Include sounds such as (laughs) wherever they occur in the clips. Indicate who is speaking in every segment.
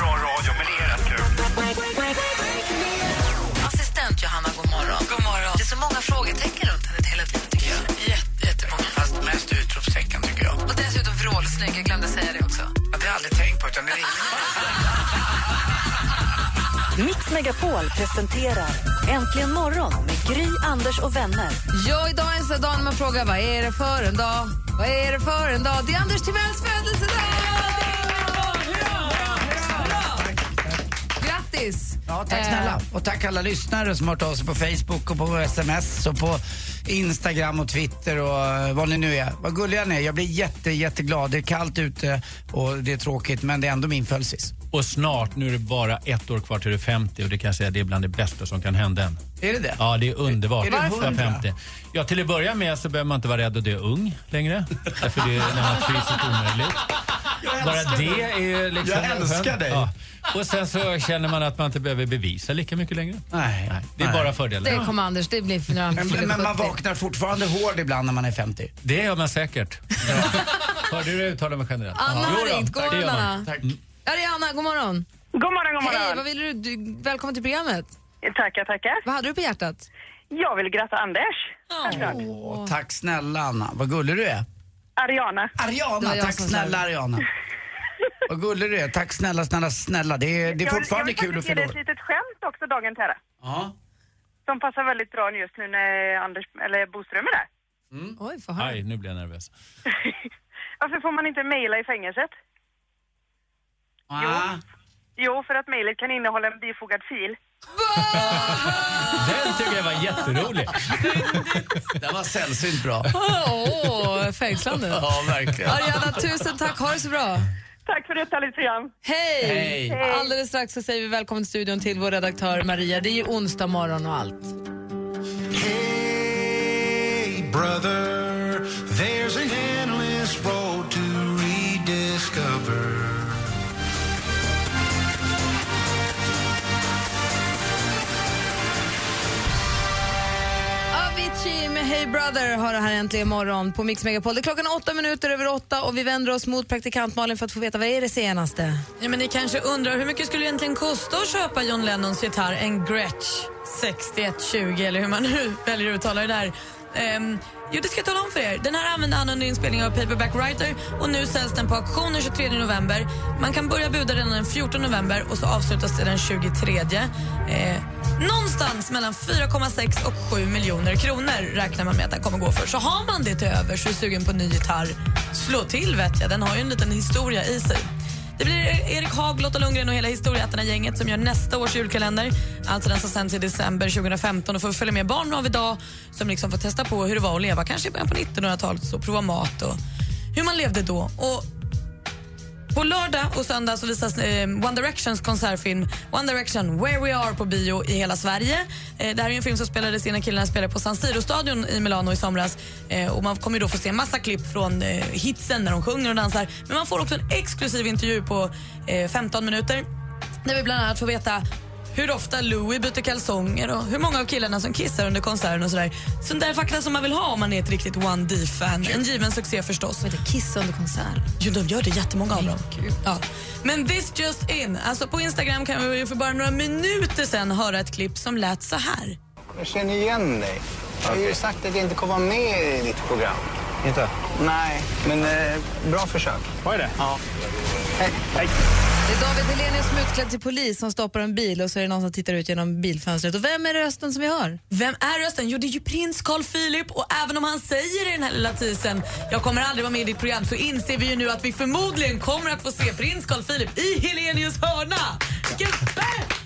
Speaker 1: bra radio, men det är rätt kul.
Speaker 2: Assistent Johanna, god morgon. God morgon. Det är så många frågetecken runt henne hela tiden. tycker jag. Jätte, jättemånga.
Speaker 1: Fast mest utropstecken, tycker jag.
Speaker 2: Och dessutom vrålsnygg, jag glömde säga det också.
Speaker 1: Men det har jag aldrig tänkt på, utan det är
Speaker 3: Mix Megapol presenterar Äntligen morgon med Gry, Anders och vänner.
Speaker 2: Ja, idag är en sån dag när man frågar vad är det för en dag? Vad är det för en dag? Det är Anders Timells födelsedag! Grattis! Eh,
Speaker 4: Ja, tack snälla. Och tack alla lyssnare som har hört av sig på Facebook och på sms och på Instagram och Twitter och eh, vad ni nu är. Vad gulliga ni är. Jag blir jätte, jätteglad. Det är kallt ute och det är tråkigt men det är ändå min födelsedag.
Speaker 5: Och snart, nu är det bara ett år kvar till du är 50 och det kan jag säga det är bland det bästa som kan hända en.
Speaker 4: Är det det?
Speaker 5: Ja, det är underbart.
Speaker 4: Är det
Speaker 5: Varför?
Speaker 4: 100?
Speaker 5: Ja, till att börja med så behöver man inte vara rädd att dö ung längre. Därför det är närmast fysiskt omöjligt. Bara det är ju liksom...
Speaker 4: Jag älskar dig.
Speaker 5: Ja. Och sen så känner man att man inte behöver bevisa lika mycket längre.
Speaker 4: Nej.
Speaker 5: Nej, det är bara fördelar.
Speaker 2: Det kommer Anders, det blir för när han fyller
Speaker 4: Men, men man
Speaker 2: 70.
Speaker 4: vaknar fortfarande hård ibland när man är 50.
Speaker 5: Det gör man säkert. Ja. Hörde du det uttalar mig generellt?
Speaker 2: Anna
Speaker 5: Jo då,
Speaker 2: har ringt, god
Speaker 5: det
Speaker 2: morgon
Speaker 5: gör man.
Speaker 2: Anna.
Speaker 4: Tack.
Speaker 2: Ja, det är Anna, god morgon.
Speaker 6: God morgon, god
Speaker 2: Hej, vad
Speaker 6: morgon.
Speaker 2: vill du, du? Välkommen till programmet.
Speaker 6: Tackar, tackar.
Speaker 2: Vad hade du på hjärtat?
Speaker 6: Jag vill gratta Anders. Självklart.
Speaker 4: Åh, tack snälla Anna. Vad gullig du är. Eh,
Speaker 6: Ariana.
Speaker 4: Ariana,
Speaker 2: var jag
Speaker 4: tack
Speaker 2: som sa
Speaker 4: snälla
Speaker 2: det.
Speaker 4: Ariana. Vad gullig du är. Tack snälla, snälla, snälla. Det är, det är
Speaker 6: Jag vill-
Speaker 4: fortfarande
Speaker 6: Jag
Speaker 4: kul
Speaker 6: vill
Speaker 4: att
Speaker 6: faktiskt ge
Speaker 4: fylla
Speaker 6: dig ett
Speaker 4: år.
Speaker 6: litet skämt också dagen till ära.
Speaker 4: Ja.
Speaker 6: Som passar väldigt bra just nu när Anders, eller Boström är där. (laughs)
Speaker 4: Mm.
Speaker 2: Oj, får höra.
Speaker 5: Aj, nu blir jag nervös.
Speaker 6: Varför får man inte mejla i fängelset?
Speaker 4: Ah.
Speaker 6: Jo, för att mejlet kan innehålla en bifogad fil.
Speaker 5: Den tycker jag var jätterolig.
Speaker 4: Den var sällsynt bra.
Speaker 2: Åh,
Speaker 4: (laughs)
Speaker 2: fängslande.
Speaker 4: Ja, verkligen.
Speaker 2: Ariana, tusen tack. Ha det så bra.
Speaker 6: Tack för detta lite grann.
Speaker 2: Hej!
Speaker 4: Hej.
Speaker 2: Alldeles strax så säger vi välkommen till studion till vår redaktör Maria. Det är ju onsdag morgon och allt.
Speaker 7: Hey, brother, there's an endless road to rediscover.
Speaker 2: Avicii med Hey Brother har det här äntligen morgon på Mix Megapol. Det är klockan åtta minuter över åtta och vi vänder oss mot praktikant Malin för att få veta vad är det senaste.
Speaker 8: Ja, men ni kanske undrar hur mycket skulle det egentligen kosta att köpa John Lennons gitarr, en Gretsch 6120 eller hur man nu väljer att uttala det där. Ehm, jo, det ska jag tala om för er. Den här använde han under inspelningen av Paperback Writer och nu säljs den på auktion den 23 november. Man kan börja buda redan den 14 november och så avslutas det den 23. Eh, någonstans mellan 4,6 och 7 miljoner kronor räknar man med att den kommer gå för. Så har man det till över så är sugen på en ny gitarr, slå till vet jag. Den har ju en liten historia i sig. Det blir Erik Haag, Lotta Lundgren och hela Historieätarna-gänget som gör nästa års julkalender. Alltså den som sänds i december 2015 och får följa med barn av idag som liksom får testa på hur det var att leva kanske i början på 1900-talet och prova mat och hur man levde då. Och på lördag och söndag så visas eh, One Directions konsertfilm One Direction Where We Are på bio i hela Sverige. Eh, det här är ju en film som spelades in när killarna spelade på San Siro-stadion i Milano i somras. Eh, och man kommer ju då få se massa klipp från eh, hitsen när de sjunger och dansar. Men man får också en exklusiv intervju på eh, 15 minuter där vi bland annat får veta hur ofta Louis byter kalsonger och hur många av killarna som kissar under konserten och sådär. Sån där fakta som man vill ha om man är ett riktigt One D-fan. En given succé förstås.
Speaker 2: Vad heter Kiss under konsert?
Speaker 8: Jo, de gör det, jättemånga av dem. Ja. Men this just in. Alltså på Instagram kan vi ju för bara några minuter sen höra ett klipp som lät så här.
Speaker 9: Jag känner igen dig. Jag har ju sagt att jag inte kommer vara med i ditt program.
Speaker 7: Inte?
Speaker 9: Nej, men eh, bra försök.
Speaker 7: Var det?
Speaker 9: Ja.
Speaker 2: Det är David Helenius som är utklädd till polis som stoppar en bil och så är det någon som tittar ut genom bilfönstret. Och vem är rösten som vi hör?
Speaker 8: Vem är rösten? Jo, det är ju prins Carl Philip och även om han säger i den här lilla tisen jag kommer aldrig vara med i ditt program så inser vi ju nu att vi förmodligen kommer att få se prins Carl Philip i Helenius hörna. Vilken fest!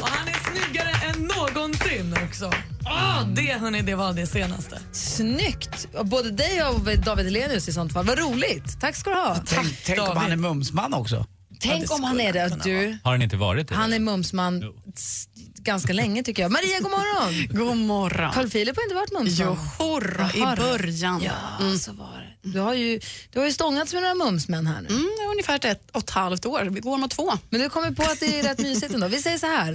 Speaker 8: Och han är snyggare än någonsin också. Åh, det hörni, det var det senaste.
Speaker 2: Snyggt! Och Både dig och David Helenius i sånt fall. Vad roligt! Tack ska du ha.
Speaker 4: Tänk, tänk om
Speaker 8: David.
Speaker 4: han är mumsman också.
Speaker 2: Tänk om han är det. Du,
Speaker 5: Har den inte varit det?
Speaker 2: han är mumsman.
Speaker 5: Jo.
Speaker 2: S- ganska länge tycker jag. Maria, god morgon!
Speaker 10: god morgon.
Speaker 2: Carl Philip har inte varit
Speaker 10: Jo,
Speaker 2: mumsman.
Speaker 10: hurra, i
Speaker 2: Har du?
Speaker 10: början.
Speaker 2: Ja,
Speaker 10: Mm.
Speaker 2: så var det. Du har, ju, du har ju stångats med några mumsmän här nu.
Speaker 10: Mm, ungefär ett och ett halvt år. Vi går mot två.
Speaker 2: Men du kommer på att det är rätt mysigt ändå. Vi säger så här.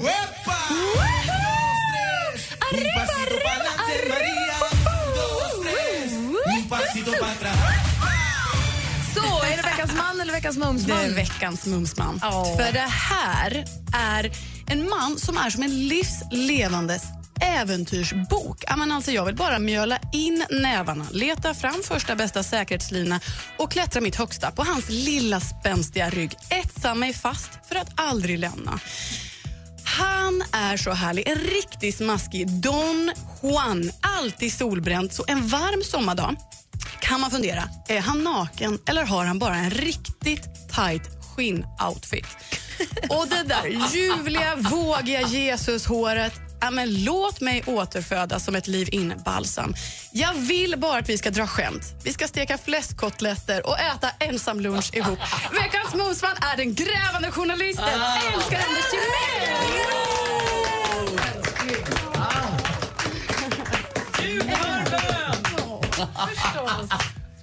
Speaker 2: Så, är det veckans man eller veckans mumsman?
Speaker 8: Mm.
Speaker 10: Det är veckans mumsman.
Speaker 2: Ja.
Speaker 10: För det här är en man som är som en livslevandes äventyrsbok. Ja, men Alltså jag vill bara mjöla in nävarna, leta fram första bästa säkerhetslina och klättra mitt högsta på hans lilla spänstiga rygg. Etsa mig fast för att aldrig lämna. Han är så härlig. En riktigt smaskig Don Juan. Alltid solbränd. Så en varm sommardag kan man fundera. Är han naken eller har han bara en riktigt tight skinnoutfit? Och det där ljuvliga, vågiga Jesus-håret. Ja, men låt mig återfödas som ett liv in balsam. Jag vill bara att vi ska dra skämt. Vi ska steka fläskkotletter och äta ensam lunch
Speaker 4: (laughs)
Speaker 10: ihop. Veckans mumsman är den grävande journalisten. Älskar Anders Timell!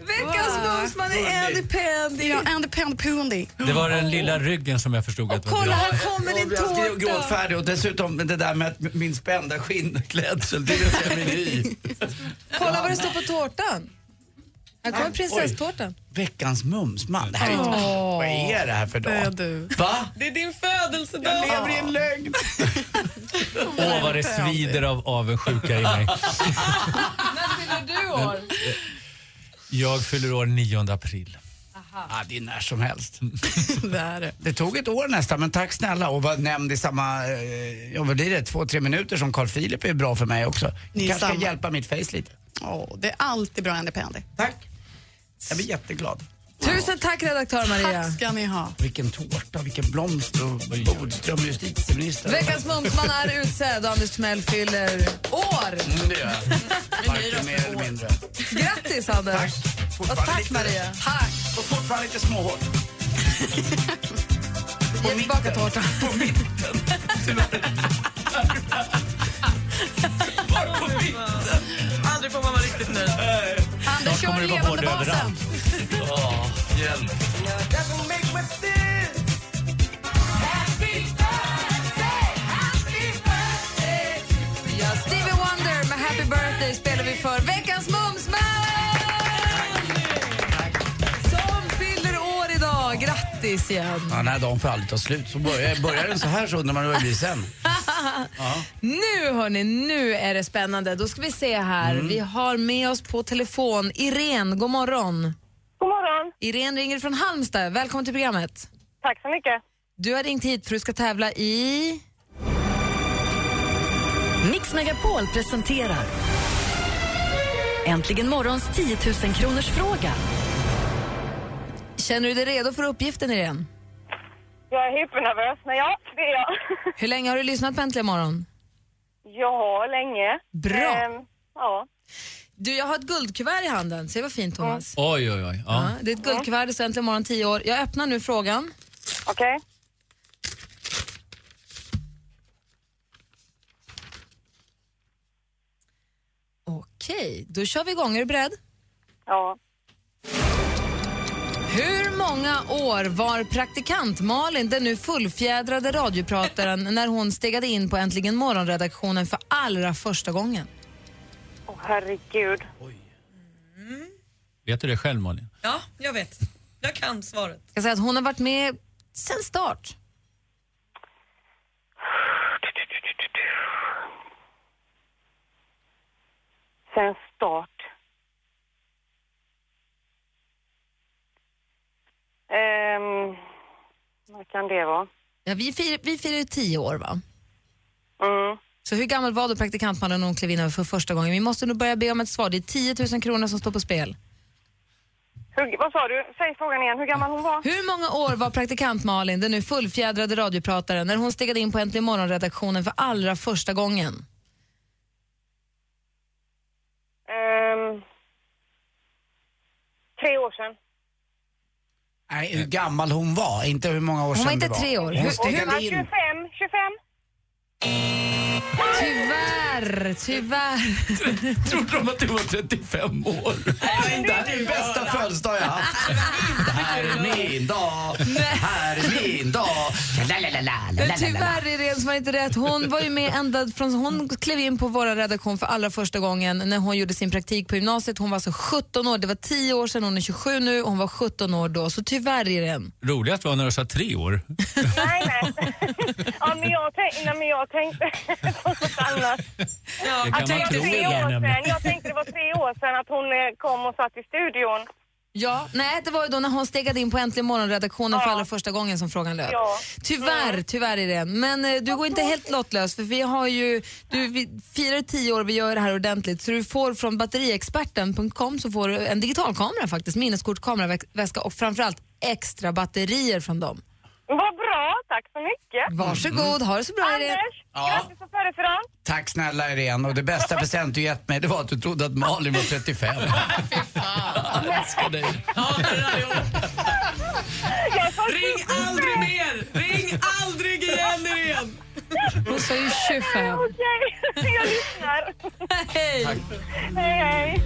Speaker 2: Veckans mumsman är Andy Pendy.
Speaker 10: Ja, Andy Pendy Pundy.
Speaker 5: Det var den lilla ryggen som jag förstod att det var bra.
Speaker 2: kommer
Speaker 4: Jag blir gråtfärdig och dessutom det där med att min spända skinnklädsel, det vill säga min
Speaker 10: (laughs)
Speaker 4: hy.
Speaker 2: Kolla vad det står på tårtan. Här kommer prinsesstårtan.
Speaker 4: Veckans mumsman. Det här är inte...
Speaker 2: Åh.
Speaker 4: Vad är det här för dag?
Speaker 10: Det är du.
Speaker 4: Va?
Speaker 10: Det är din födelsedag.
Speaker 4: Jag lever i en lögn.
Speaker 5: Åh, vad det svider av avundsjuka i mig.
Speaker 2: Fyller du år?
Speaker 5: Jag fyller år 9 april.
Speaker 4: Ja, det är när som helst.
Speaker 10: (laughs) Det är det.
Speaker 4: Det tog ett år nästan, men tack snälla. Och var nämnd i samma, eh, ja vad blir det, två, tre minuter som Carl Philip är bra för mig också.
Speaker 10: Ni är
Speaker 4: kanske kan
Speaker 10: samma.
Speaker 4: hjälpa mitt face lite.
Speaker 10: Åh, det är alltid bra Andy Pendy.
Speaker 4: Tack. Jag blir jätteglad.
Speaker 2: Tusen tack redaktör Maria.
Speaker 10: Tack ska ni ha.
Speaker 4: Vilken tårta, vilken blomst och Bodström justitieminister.
Speaker 2: Veckans mumsman är utsedd och Anders Timell fyller år.
Speaker 4: Mm, det gör jag. Varken mer eller mindre.
Speaker 2: Grattis Anders. Och
Speaker 4: Fortfarande
Speaker 2: tack
Speaker 4: lite-
Speaker 2: Maria.
Speaker 4: Tack. Och fortfarande lite småhår.
Speaker 2: Ge tillbaka tårtan.
Speaker 4: På mitten. Tyvärr. Bara på mitten.
Speaker 8: Aldrig får man vara riktigt nöjd.
Speaker 2: Anders,
Speaker 5: kommer
Speaker 2: kör
Speaker 5: det vara
Speaker 2: levande
Speaker 5: hård
Speaker 2: basen.
Speaker 5: överallt. Ja, hjälp.
Speaker 2: Stevie Wonder med Happy Birthday spelar vi för veckans mumsman! Som fyller år idag. Grattis igen.
Speaker 4: Ja, den här dagen får aldrig ta slut. Så börjar, börjar den så här så undrar man hur det blir sen.
Speaker 2: Nu hörni, nu är det spännande. Då ska vi se här. Vi har med oss på telefon Irene, god morgon.
Speaker 6: God morgon.
Speaker 2: Irene ringer från Halmstad. Välkommen till programmet.
Speaker 6: Tack så mycket.
Speaker 2: Du har ringt hit för du ska tävla i...
Speaker 3: Mix Megapol presenterar Äntligen morgons 10 000 kronors fråga.
Speaker 2: Känner du dig redo för uppgiften Irene?
Speaker 6: Jag är hypernervös, men ja, det är jag. (laughs)
Speaker 2: Hur länge har du lyssnat på Äntligen morgon?
Speaker 6: Ja, länge.
Speaker 2: Bra.
Speaker 6: Ehm, ja.
Speaker 2: Du, jag har ett guldkuvert i handen. Se vad fint Thomas.
Speaker 5: Oj, oj, oj. Ja.
Speaker 2: Ja, det är ett guldkuvert, det står Äntligen morgon 10 år. Jag öppnar nu frågan.
Speaker 6: Okej.
Speaker 2: Okej, då kör vi igång. Är du beredd?
Speaker 6: Ja.
Speaker 2: Hur många år var praktikant Malin, den nu fullfjädrade radioprataren, (laughs) när hon stegade in på Äntligen morgonredaktionen för allra första gången?
Speaker 6: Åh, herregud.
Speaker 5: Vet du det själv, Malin?
Speaker 8: Ja, jag vet. Jag kan svaret.
Speaker 2: Jag ska säga att hon har varit med sen start.
Speaker 6: Sen start. Ehm, vad kan det vara?
Speaker 2: Ja, vi, fir, vi firar ju tio år, va?
Speaker 6: Mm.
Speaker 2: Så hur gammal var då praktikantmannen när hon klev in för första gången? Vi måste nog börja be om ett svar. Det är 10 000 kronor som står på spel.
Speaker 6: Hur, vad sa du? Säg frågan igen, hur gammal hon var?
Speaker 2: Hur många år var praktikant Malin, den nu fullfjädrade radioprataren, när hon stegade in på Äntligen morgonredaktionen för allra första gången?
Speaker 6: Ehm, tre år sedan.
Speaker 4: Nej, hur gammal hon var, inte hur många år
Speaker 2: Hon
Speaker 4: sedan
Speaker 2: var inte
Speaker 4: det
Speaker 2: tre år.
Speaker 4: Hon
Speaker 2: Hur-
Speaker 4: stegade in.
Speaker 6: 25, 25.
Speaker 2: Tyvärr, tyvärr.
Speaker 4: Trodde de att du var 35 år? Det här är den bästa födelsedag jag haft. Det här är min dag, här är min dag. La, la, la, la, la, la,
Speaker 2: Men
Speaker 4: la, la.
Speaker 2: tyvärr är det en som var inte rätt. Hon var ju med ända från hon klev in på vår redaktion för allra första gången när hon gjorde sin praktik på gymnasiet. Hon var alltså 17 år, det var 10 år sedan, hon är 27 nu och hon var 17 år då. Så tyvärr är det en.
Speaker 5: Roligast var när du sa tre år.
Speaker 11: Nej,
Speaker 5: (laughs)
Speaker 11: nej. ja, men jag, tänk, nej, men jag tänkte på något annat.
Speaker 5: kan
Speaker 11: att
Speaker 5: man
Speaker 11: det var
Speaker 5: tro
Speaker 11: tre
Speaker 5: igen,
Speaker 11: år sedan.
Speaker 5: nämligen.
Speaker 11: Jag tänkte det var tre år sedan att hon eh, kom och satt i studion.
Speaker 2: Ja, nej det var ju då när hon stegade in på Äntligen morgon-redaktionen för allra första gången som frågan löd.
Speaker 11: Ja.
Speaker 2: Tyvärr, tyvärr är det en. Men eh, du går inte helt lottlös för vi har ju, du, vi firar 10 år, vi gör det här ordentligt. Så du får från batteriexperten.com så får du en digitalkamera faktiskt, minneskort, kameraväska och framförallt extra batterier från dem.
Speaker 11: Vad bra, tack så mycket.
Speaker 2: Varsågod, ha det så bra, Irene.
Speaker 11: Mm. Anders,
Speaker 4: Ja.
Speaker 11: grattis på födelsedagen.
Speaker 4: Tack snälla Irene och det bästa present du gett mig det var att du trodde att Malin var 35. Jag älskar dig.
Speaker 8: Ring aldrig mer! Ring aldrig igen, Irene!
Speaker 2: Hon sa ju 25.
Speaker 11: Okej, (laughs) jag lyssnar.
Speaker 2: Hej!
Speaker 11: Hej, hej.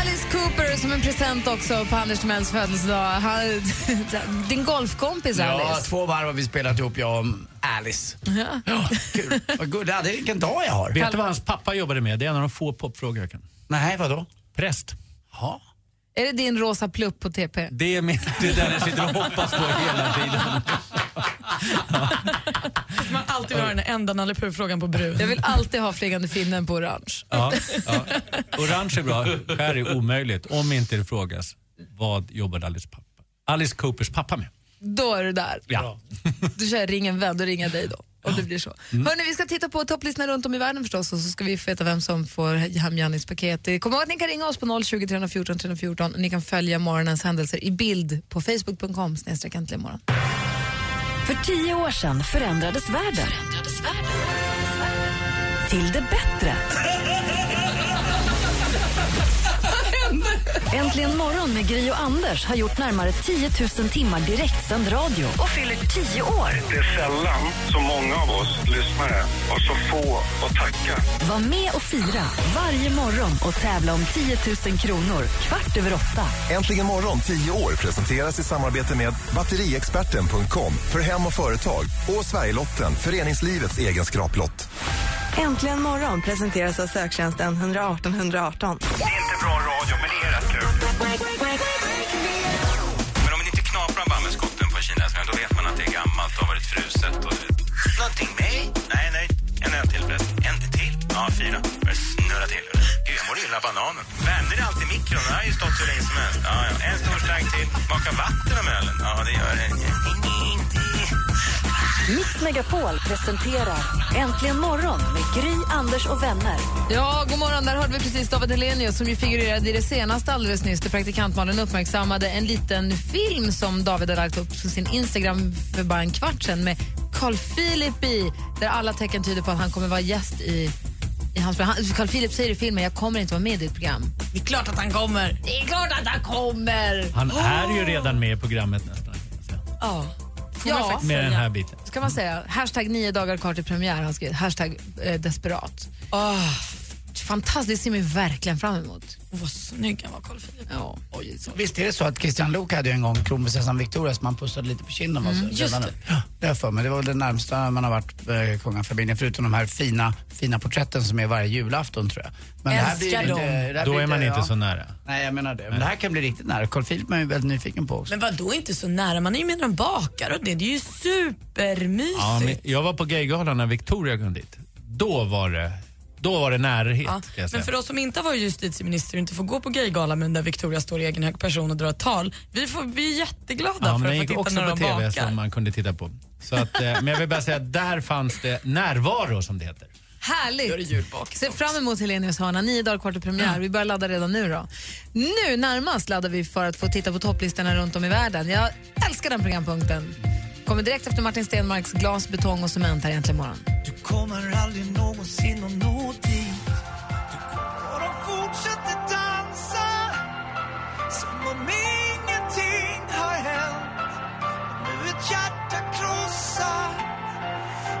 Speaker 2: Alice Cooper som en present också på Anders Timells födelsedag. Han- (laughs) Din golfkompis
Speaker 4: Ja,
Speaker 2: Alice.
Speaker 4: två varv har vi spelat ihop jag och Alice.
Speaker 2: Ja.
Speaker 4: Kul. Vad gulligt. Ja, det är vilken dag jag har.
Speaker 5: Vet du vad hans pappa jobbade med? Det är en av de få popfrågor jag kan.
Speaker 4: Nej, vadå?
Speaker 5: Präst.
Speaker 4: Ja.
Speaker 2: Är det din rosa plupp på TP?
Speaker 5: Det är min, det är den jag sitter och hoppas på hela tiden.
Speaker 8: Fast Man har alltid har den enda Nalle frågan på brun.
Speaker 2: Jag vill alltid ha flygande finnen på orange.
Speaker 5: Ja, ja. Orange är bra, skär är omöjligt. Om inte det frågas, vad jobbade Alice, pappa? Alice Coopers pappa med?
Speaker 2: Då är du där.
Speaker 5: Ja.
Speaker 2: Du kör ring en vän, då ringer jag dig då. Om det blir så. Hörni, vi ska titta på topplistorna runt om i världen förstås och så ska vi få veta vem som får hem Jannis paket. Eh, Kom ihåg att ni kan ringa oss på 020 314 314 och ni kan följa morgonens händelser i bild på facebook.com snedstreck äntligen morgon.
Speaker 3: För tio år sedan förändrades världen. Till det bättre. Äntligen morgon med Gry och Anders har gjort närmare 10 000 timmar direktsänd radio och fyller 10 år.
Speaker 1: Det är sällan så många av oss lyssnare och så få att tacka.
Speaker 3: Var med och fira varje morgon och tävla om 10 000 kronor kvart över åtta.
Speaker 12: Äntligen morgon 10 år presenteras i samarbete med batteriexperten.com för hem och företag och Sverigelotten, föreningslivets egen skraplott.
Speaker 13: Äntligen morgon presenteras av söktjänsten 118 118.
Speaker 1: Inte bra radio, men det är rätt kul. Men om man inte knaprar bambuskotten på kinasnören, då vet man att det är gammalt och har varit fruset. Och... Någonting med? Nej, nej. En öl till förresten. En till? Ja, fyra. Börjar snurra till. hörru. Gud, jag mår illa av bananen. Värmde det alltid i mikron? Den har ju stått hur länge som helst. Ja, ja. En stor stark till. Smaka vatten om ölen? Ja, det gör det.
Speaker 3: Mix Megapol presenterar Äntligen morgon med Gry, Anders och vänner.
Speaker 2: Ja, god morgon. Där hörde vi precis David Hellenius som ju figurerade i det senaste alldeles nyss där praktikantmannen uppmärksammade en liten film som David har lagt upp på sin Instagram för bara en kvart sedan med Carl Philip i, där alla tecken tyder på att han kommer vara gäst i, i hans program. Han- Carl Philip säger i filmen, jag kommer inte vara med i ditt program.
Speaker 8: Det är klart att han kommer.
Speaker 2: Det är klart att han kommer!
Speaker 5: Han är ju redan med i programmet nästan.
Speaker 2: Ja.
Speaker 5: man
Speaker 2: Ja,
Speaker 5: faktiskt Med den här säga. biten.
Speaker 2: ska man säga. Hashtag nio dagar kvar till premiär. Han skrev hashtag eh, desperat.
Speaker 8: Ah.
Speaker 2: Fantastiskt, det ser man ju verkligen fram emot.
Speaker 8: Oh, vad snygg han var, Carl Philip.
Speaker 2: Ja.
Speaker 4: Visst är det så att Christian Lok hade ju en gång kronprinsessan Victoria som han pussade lite på kinden. Mm,
Speaker 8: just det.
Speaker 4: Det har jag för mig. Det var väl det närmsta man har varit eh, kungafamiljen förutom de här fina, fina porträtten som är varje julafton tror jag.
Speaker 8: Älskar
Speaker 4: lite-
Speaker 8: dem.
Speaker 4: det här
Speaker 5: Då
Speaker 4: blir
Speaker 5: är man
Speaker 4: lite-
Speaker 5: inte
Speaker 4: ja.
Speaker 5: så nära.
Speaker 4: Nej, jag menar det. Men det här kan bli riktigt nära. Carl Philip är man ju väldigt nyfiken på också.
Speaker 8: Men vad då inte så nära? Man är ju med när de bakar och det. Det är ju supermysigt.
Speaker 5: Ja, men jag var på Gaygalan när Victoria kom dit. Då var det, då var det närhet.
Speaker 8: Ja,
Speaker 5: kan jag säga.
Speaker 8: Men för oss som inte har varit justitieminister och inte får gå på gaygala men där Victoria står i egen hög person och drar ett tal, vi, får, vi är jätteglada
Speaker 5: Ja, men
Speaker 8: för
Speaker 5: den
Speaker 8: att få
Speaker 5: gick
Speaker 8: titta
Speaker 5: också
Speaker 8: när
Speaker 5: på
Speaker 8: de
Speaker 5: TV
Speaker 8: bakar.
Speaker 5: som man kunde titta på. Så att, eh, men jag vill bara säga att där fanns det närvaro som det heter.
Speaker 2: Härligt! Se fram emot Helenius hörna. Nio dagar kvar till premiär. Vi börjar ladda redan nu. då. Nu närmast laddar vi för att få titta på topplistorna runt om i världen. Jag älskar den programpunkten. Kommer direkt efter Martin Stenmarks Glas, betong och cement här egentligen imorgon.
Speaker 7: Du kommer aldrig någonsin att nå dit Och de fortsätter dansa Som om ingenting mitt hjärta krossar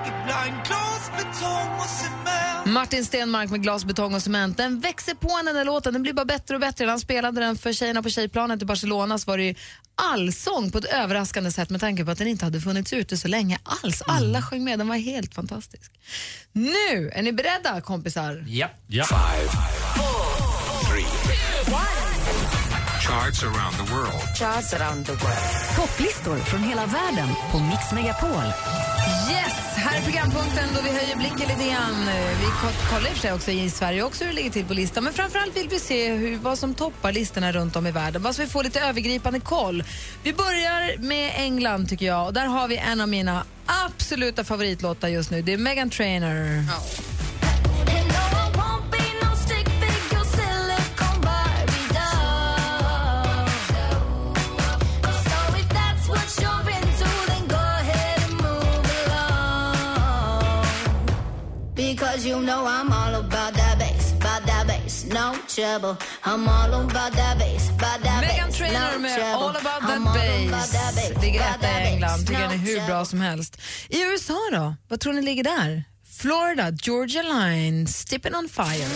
Speaker 7: Ibland glas, betong och cement
Speaker 2: Martin Stenmark med glas, betong och cement. Den växer på en den där låten. Den blir bara bättre och bättre. När han spelade den för tjejerna på tjejplanet i Barcelona så var det ju allsång på ett överraskande sätt med tanke på att den inte hade funnits ute så länge alls. Alla sjöng med. Den var helt fantastisk. Nu, är ni beredda kompisar?
Speaker 5: Yep. yep. Five,
Speaker 7: three. Charts around the world.
Speaker 3: Topplistor från hela världen på Mix Megapol.
Speaker 2: Yes! Här är programpunkten då vi höjer blicken lite grann. Vi ko- kollar i och för sig också i Sverige också hur det ligger till på listan. Men framförallt vill vi se hur, vad som toppar listorna runt om i världen. Vad så vi får lite övergripande koll. Vi börjar med England tycker jag. Och där har vi en av mina absoluta favoritlåtar just nu. Det är Megan Trainor.
Speaker 14: Because you know I'm all about that bass, about that bass, no trouble. I'm all about that bass, about that
Speaker 2: Megan
Speaker 14: bass,
Speaker 2: Trainor
Speaker 14: no
Speaker 2: med
Speaker 14: trouble.
Speaker 2: All About
Speaker 14: I'm
Speaker 2: That
Speaker 14: all about that
Speaker 2: Bass.
Speaker 14: bass,
Speaker 2: Ligger
Speaker 14: about
Speaker 2: etta
Speaker 14: that
Speaker 2: i England.
Speaker 14: bass,
Speaker 2: Tycker
Speaker 14: no
Speaker 2: den är hur bra
Speaker 14: trouble.
Speaker 2: som helst. I USA då? Vad tror ni ligger där? Florida, Georgia Line, Stippin' on Fire.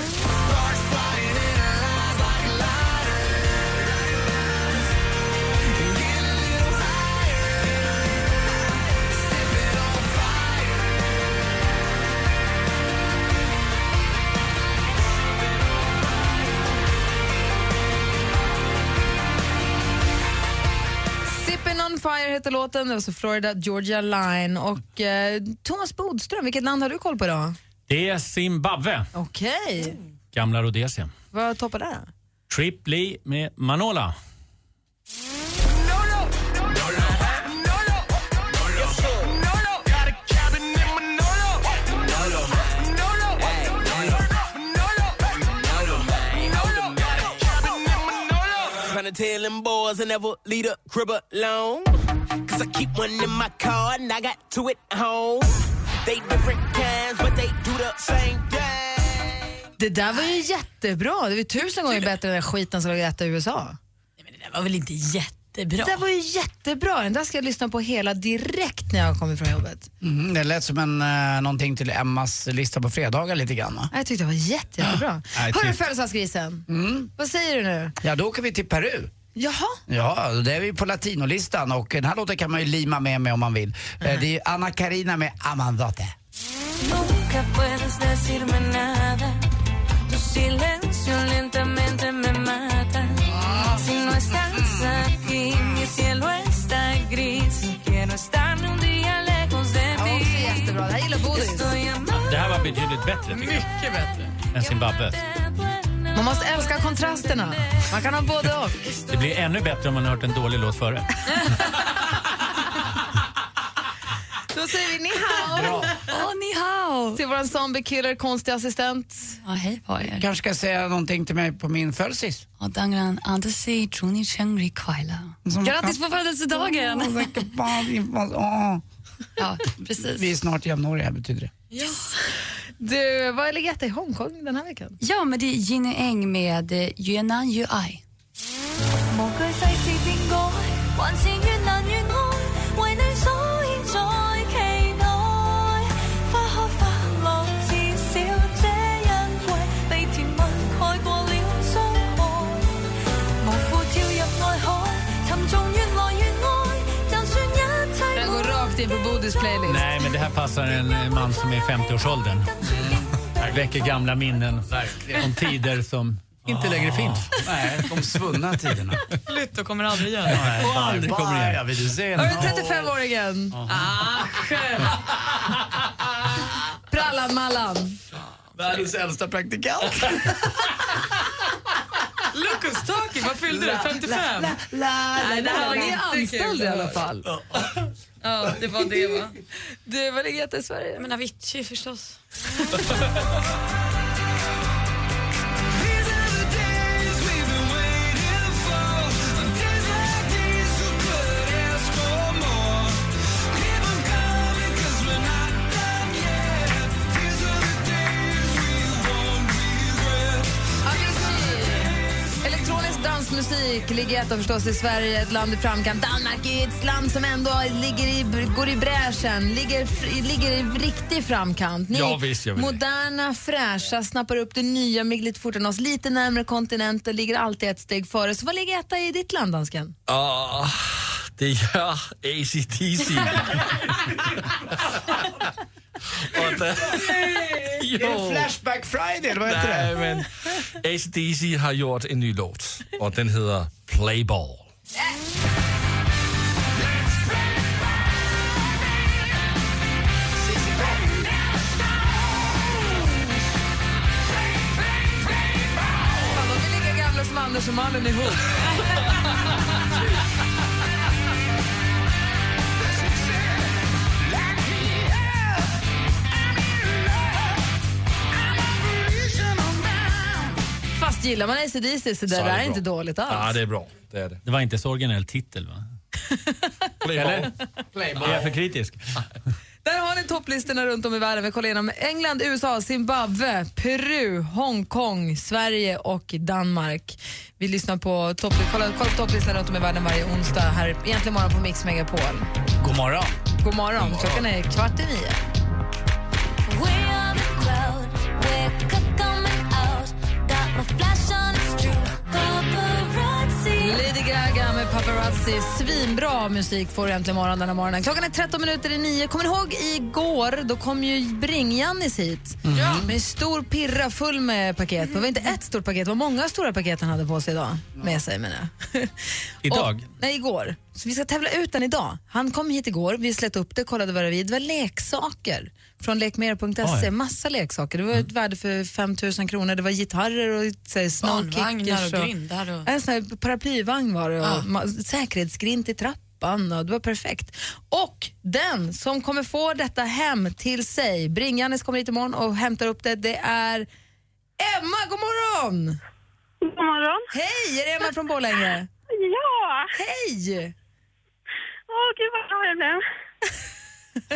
Speaker 2: Sippin' on fire heter låten, alltså Florida Georgia Line. Och eh, Thomas Bodström, vilket land har du koll på idag?
Speaker 5: Det är Zimbabwe,
Speaker 2: Okej,
Speaker 5: gamla Rhodesia.
Speaker 2: vad toppar där? då?
Speaker 5: Trip Lee med Manola.
Speaker 15: Trying to tell them boys I never leave a crib alone. Cause I keep one in my car and I got two at home. They different kinds, but they do the same thing.
Speaker 2: Det där var ju jättebra. Det var ju tusen gånger bättre än den skiten som låg etta i USA. Nej, men det där var väl inte jättebra? Det där var ju jättebra. Den där ska jag lyssna på hela direkt när jag kommer från jobbet.
Speaker 4: Mm, det lät som en, eh, någonting till Emmas lista på fredagar lite grann va?
Speaker 2: Ja, Jag tyckte det var jätte, jättebra.
Speaker 4: Nej,
Speaker 2: Hörru
Speaker 4: typ.
Speaker 2: födelsedagsgrisen, vad säger du nu?
Speaker 4: Ja, då åker vi till Peru.
Speaker 2: Jaha?
Speaker 4: Ja, det är vi på latinolistan och den här låten kan man ju lima med mig om man vill.
Speaker 8: Mm.
Speaker 4: Eh, Det är Anna Karina med Amandate.
Speaker 16: Nunca puedes decirme nada. Tu silencio lentamente me mata. Si no estás aquí, mi cielo está gris. Quiero estar un día lejos de
Speaker 2: Ah,
Speaker 16: ti. Estoy amando
Speaker 5: Det här var betydligt bättre tycker jag. Mycket bättre. Än Zimbabwe.
Speaker 2: Man måste älska kontrasterna. Man kan ha både och.
Speaker 5: Det blir ännu bättre om man har hört en dålig låt före.
Speaker 2: Då säger vi ni hao. Oh, ni hao. Till vår zombiekiller, konstig assistent.
Speaker 16: Ja, hej på er.
Speaker 4: kanske ska säga någonting till mig på min födelsedag.
Speaker 16: Och dangran andesi truni chengri kaila. Grattis på födelsedagen!
Speaker 4: Ja,
Speaker 16: precis.
Speaker 4: Vi är snart jämnåriga betyder det.
Speaker 2: Du, vad ligger etta i Hongkong den här veckan?
Speaker 16: Ja, men det är Jin Eng med eh, Yuanan Yuai.
Speaker 17: 無懼世事變改，還是越難越愛，為你所獻在期內。花開花落，至少這一季被甜蜜蓋過了傷害。無負跳入愛海，沉重越來越愛，就算一切。
Speaker 2: Den går rakt in på Bodis playlist.
Speaker 5: Nej, men det här passar en eh, man som är i 50-årsåldern. Väcker gamla minnen om tider som inte längre finns.
Speaker 4: Nej, de svunna tiderna.
Speaker 8: Lytt och kommer aldrig göra det.
Speaker 5: Nej, Och aldrig kommer igen.
Speaker 4: Bara vid scenen.
Speaker 2: Hörru, 35-åringen. Ah, Prallan Mallan.
Speaker 4: Världens äldsta praktikant.
Speaker 8: Lucas Taki, vad fyllde du? 55?
Speaker 4: La, la, la,
Speaker 8: Nej, det här var
Speaker 2: la, la.
Speaker 8: inte
Speaker 2: Anställd
Speaker 8: kul.
Speaker 2: i alla fall.
Speaker 8: Ja, det var det va?
Speaker 2: Du, vad ligger etta i Sverige?
Speaker 8: Men Avicii förstås.
Speaker 2: Elektronisk dansmusik musik ligger etta förstås i Sverige, ett land i framkant. Danmark är ett land som ändå ligger i, går i bräschen, ligger, fr- ligger i riktig framkant. Ni
Speaker 18: Ja, visst gör vi det.
Speaker 2: moderna, fräscha, snappar upp det nya myggligt fortare än oss. Lite närmare kontinenten, ligger alltid ett steg före. Så vad ligger etta i ditt land, dansken?
Speaker 18: Ah, det gör ACDC.
Speaker 5: (laughs)
Speaker 18: Och det-
Speaker 4: Är det Flashback Friday eller vad heter
Speaker 18: Nej,
Speaker 4: det?
Speaker 18: men ACDC har gjort en ny låt och den heter Playball.
Speaker 2: Fan, de är lika gamla som Anders och Malin ihop. Fast gillar man ACDC så det
Speaker 5: Så är
Speaker 2: där är
Speaker 5: det
Speaker 2: inte
Speaker 5: bra.
Speaker 2: dåligt alls.
Speaker 5: det är bra.
Speaker 18: Det, är det.
Speaker 5: var inte så originell titel, va? Eller? Är jag för kritisk?
Speaker 2: Där har ni topplistorna runt om i världen. Vi kollar igenom England, USA, Zimbabwe, Peru, Hongkong, Sverige och Danmark. Vi lyssnar på topp, kollar, kollar på topplistorna runt om i världen varje onsdag här egentligen morgon på Mix Megapol.
Speaker 4: God morgon.
Speaker 2: God morgon. Klockan är kvart i nio. Lady Gaga med Paparazzi. Svinbra musik får du äntligen morgon den här morgonen. Klockan är 13 minuter i nio. Kommer ni ihåg igår? Då kom ju Bring-Jannis hit med stor pirra full med paket. Det var inte ett stort paket, det var många stora paket han hade på sig idag. Med sig menar jag.
Speaker 5: Idag?
Speaker 2: Och, nej, igår. Så vi ska tävla ut den idag. Han kom hit igår, vi slet upp det, kollade vad det var. Det var leksaker från lekmer.se.
Speaker 8: Oj.
Speaker 2: Massa leksaker. Det var
Speaker 8: Mm.
Speaker 2: ett värde för 5 000 kronor. Det var gitarrer och så här,
Speaker 8: Barnvagnar
Speaker 2: snowkickers.
Speaker 8: och grindar och... Ah.
Speaker 2: En sån här paraplyvagn var det och ma- säkerhetsgrint i trappan och det var perfekt. Och den som kommer få detta hem till sig, Bring-Jannis kommer hit imorgon och hämtar upp det, det är Emma, god morgon!
Speaker 11: God morgon.
Speaker 2: Hej, är det Emma från Borlänge?
Speaker 11: Ja!
Speaker 2: Hej!
Speaker 11: Åh, gud vad glad jag blev.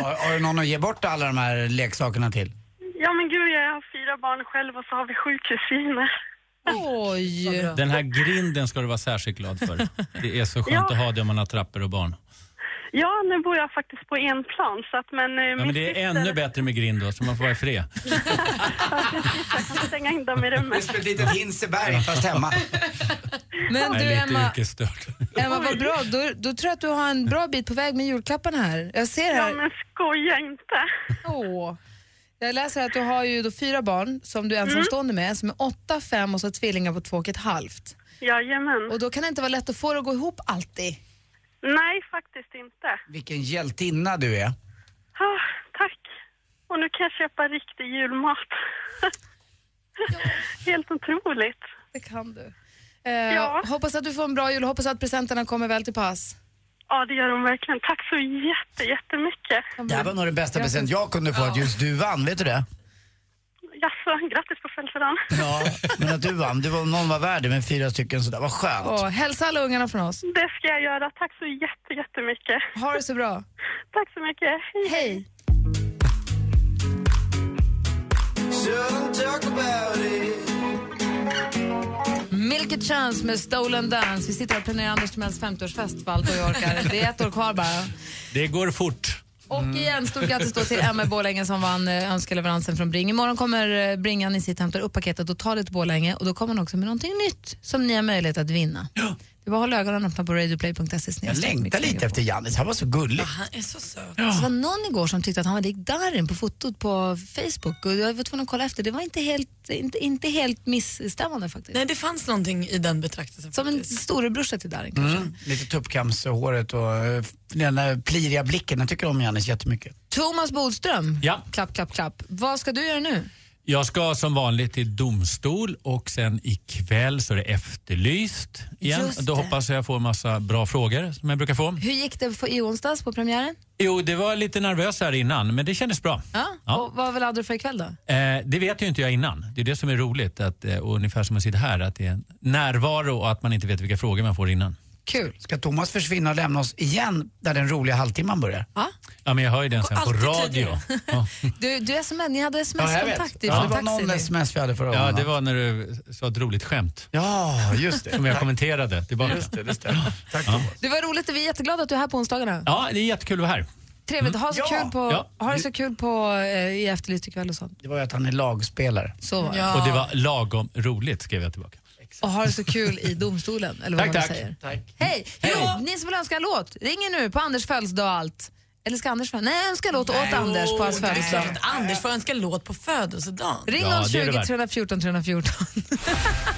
Speaker 4: Har, har du någon att ge bort alla de här leksakerna till?
Speaker 11: Ja, men gud, jag har fyra barn själv och så har vi sju kusiner.
Speaker 2: Oj!
Speaker 5: Den här grinden ska du vara särskilt glad för. Det är så skönt
Speaker 11: Ja.
Speaker 5: att ha det om man har trappor och barn.
Speaker 11: Ja, nu bor jag faktiskt på en plan så att men... eh,
Speaker 5: Ja, men
Speaker 11: min
Speaker 5: det
Speaker 11: syster-
Speaker 5: är ännu bättre med grind då, så man får vara i fred.
Speaker 11: Jag kan stänga in dem i
Speaker 2: (laughs)
Speaker 11: rummet.
Speaker 4: Ett litet Hinseberg fast hemma.
Speaker 2: Men
Speaker 5: Jag
Speaker 2: du
Speaker 5: är lite
Speaker 2: Emma,
Speaker 5: yrkesstörd.
Speaker 2: Emma vad bra. Då, då tror jag att du har en bra bit på väg med julklapparna här. Jag ser här.
Speaker 11: Ja, men skoja inte.
Speaker 2: Åh. Jag läser att du har ju då fyra barn som du är ensamstående med, som är åtta, fem och så tvillingar på två och ett halvt.
Speaker 11: Jajamän.
Speaker 2: Och då kan det inte vara lätt att få det att gå ihop alltid.
Speaker 11: Nej, faktiskt inte.
Speaker 4: Vilken hjältinna du är.
Speaker 11: Ah, tack. Och nu kan jag köpa riktig julmat. (laughs) Helt otroligt.
Speaker 2: Det kan du. Eh, ja. Hoppas att du får en bra jul och hoppas att presenterna kommer väl till pass.
Speaker 11: Ja, det gör de verkligen. Tack så jätte, jättemycket.
Speaker 4: Det här var nog den bästa present jag kunde få, att just du vann. Vet du det?
Speaker 11: Jaså, grattis på födelsedagen.
Speaker 4: Ja, men att du vann. Du var, någon var värd det, men fyra stycken sådär. Vad skönt.
Speaker 2: Och hälsa alla ungarna från oss.
Speaker 11: Det ska jag göra. Tack så jätte, jättemycket.
Speaker 2: Ha det så bra.
Speaker 11: Tack så mycket. Hej.
Speaker 2: Hej. Milk Chance med Stolen Dance. Vi sitter och planerar Anders Timells 50-årsfest för allt vad vi orkar. Det är ett år kvar bara.
Speaker 5: Det går fort.
Speaker 2: Och
Speaker 4: Mm.
Speaker 2: igen, stort grattis då till Emma i Borlänge som vann eh, önskeleveransen från Bring. Imorgon kommer eh, Bringan i sitt hämtar upp paketet och tar det till Borlänge och då kommer han också med någonting nytt som ni har möjlighet att vinna. Det var att hålla ögonen öppna på radioplay.se.
Speaker 4: Jag längtar lite efter Jannis, han var så gullig.
Speaker 2: Ah.
Speaker 8: Han är så söt.
Speaker 2: Ja. Det var någon igår som tyckte att han var lik Darin på fotot på Facebook och jag var tvungen att kolla efter. Det var inte helt, inte, inte helt missstämmande faktiskt.
Speaker 8: Nej, det fanns någonting i den betraktelsen.
Speaker 2: Som en storebrorsa till Darin.
Speaker 4: Mm. Lite tuppkamshåret och eh, den där pliriga blicken. Jag tycker om Jannis jättemycket.
Speaker 2: Thomas Bodström,
Speaker 5: Ja.
Speaker 2: klapp, klapp, klapp. Vad ska du göra nu?
Speaker 5: Jag ska som vanligt till domstol och sen ikväll så är det efterlyst igen.
Speaker 2: Just
Speaker 5: Då
Speaker 2: det.
Speaker 5: hoppas jag få en massa bra frågor som jag brukar få.
Speaker 2: Hur gick det för, i onsdags på premiären?
Speaker 5: Jo, det var lite nervös här innan, men det kändes bra.
Speaker 2: Ja.
Speaker 5: Ja.
Speaker 2: Och vad väl hade du för ikväll då?
Speaker 5: Eh, det vet ju inte jag innan. Det är det som är roligt, att, eh, och ungefär som man sitter här, att det är en närvaro och att man inte vet vilka frågor man får innan.
Speaker 2: Kul.
Speaker 4: Ska Thomas försvinna och lämna oss igen där den roliga halvtimman börjar?
Speaker 2: Ja.
Speaker 5: Ja, men jag hör ju den sen på
Speaker 4: Alltid
Speaker 5: radio.
Speaker 4: tidigare.
Speaker 5: Ja.
Speaker 2: Du, du sms, ni hade sms-kontakt
Speaker 4: Ja,
Speaker 2: från
Speaker 4: det var
Speaker 2: taxin.
Speaker 4: någon sms vi hade förra
Speaker 5: Ja,
Speaker 4: gången.
Speaker 5: det
Speaker 4: va?
Speaker 5: var när du sa ett roligt skämt.
Speaker 4: Ja, just det.
Speaker 5: Som jag kommenterade tillbaka.
Speaker 4: Just det, det stämmer. Tack
Speaker 5: ja.
Speaker 2: Det var roligt, vi är jätteglada att du är här på onsdagarna.
Speaker 5: ja, det är jättekul att vara här.
Speaker 2: Trevligt, ha, så
Speaker 4: Mm.
Speaker 5: Ja.
Speaker 2: kul på,
Speaker 5: Ja.
Speaker 2: ha det så kul på, eh, i Efterlyst ikväll och sånt.
Speaker 4: Det var ju att han är lagspelare.
Speaker 2: Så var det. Ja.
Speaker 5: Och det var lagom roligt skrev jag tillbaka.
Speaker 2: Och ha det så kul i domstolen, eller vad
Speaker 5: Tack,
Speaker 2: man
Speaker 5: tack.
Speaker 2: säger. Hej! Jo, ni som vill önska en låt, ringer nu på Anders födelsedag och allt. Eller ska Anders få- Nej, önska låt åt Anders på hans
Speaker 8: det är klart
Speaker 2: födelsedag.
Speaker 8: att Anders får önska låt på födelsedagen.
Speaker 2: Ring
Speaker 13: Ja,
Speaker 2: 020
Speaker 13: det är det värt.
Speaker 2: 314 314.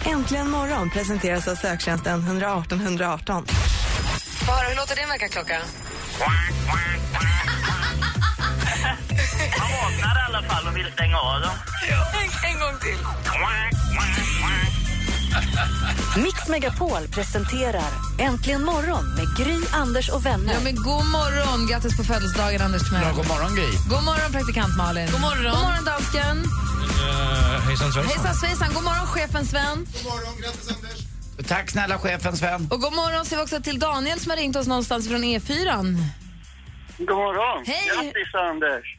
Speaker 13: Äntligen morgon presenteras av söktjänsten 118 118.
Speaker 2: Bara, hur låter din väckarklocka?
Speaker 11: Han vaknar i alla fall och vill stänga av dem.
Speaker 16: En, en gång till.
Speaker 3: Mix Megapol presenterar Äntligen morgon med Gry, Anders och vänner.
Speaker 2: Ja, men god morgon! Grattis på födelsedagen, Anders Timell.
Speaker 4: Ja, god morgon, Gry.
Speaker 2: God morgon, praktikant Malin. God morgon, god morgon dansken.
Speaker 4: Uh, hejsan
Speaker 2: Hejsan svejsan. God morgon, chefen Sven. God morgon, grattis Anders.
Speaker 4: Tack snälla chefen Sven.
Speaker 2: Och god morgon säger vi också till Daniel som har ringt oss någonstans från E4.
Speaker 19: God morgon!
Speaker 2: Hej.
Speaker 19: Grattis Anders!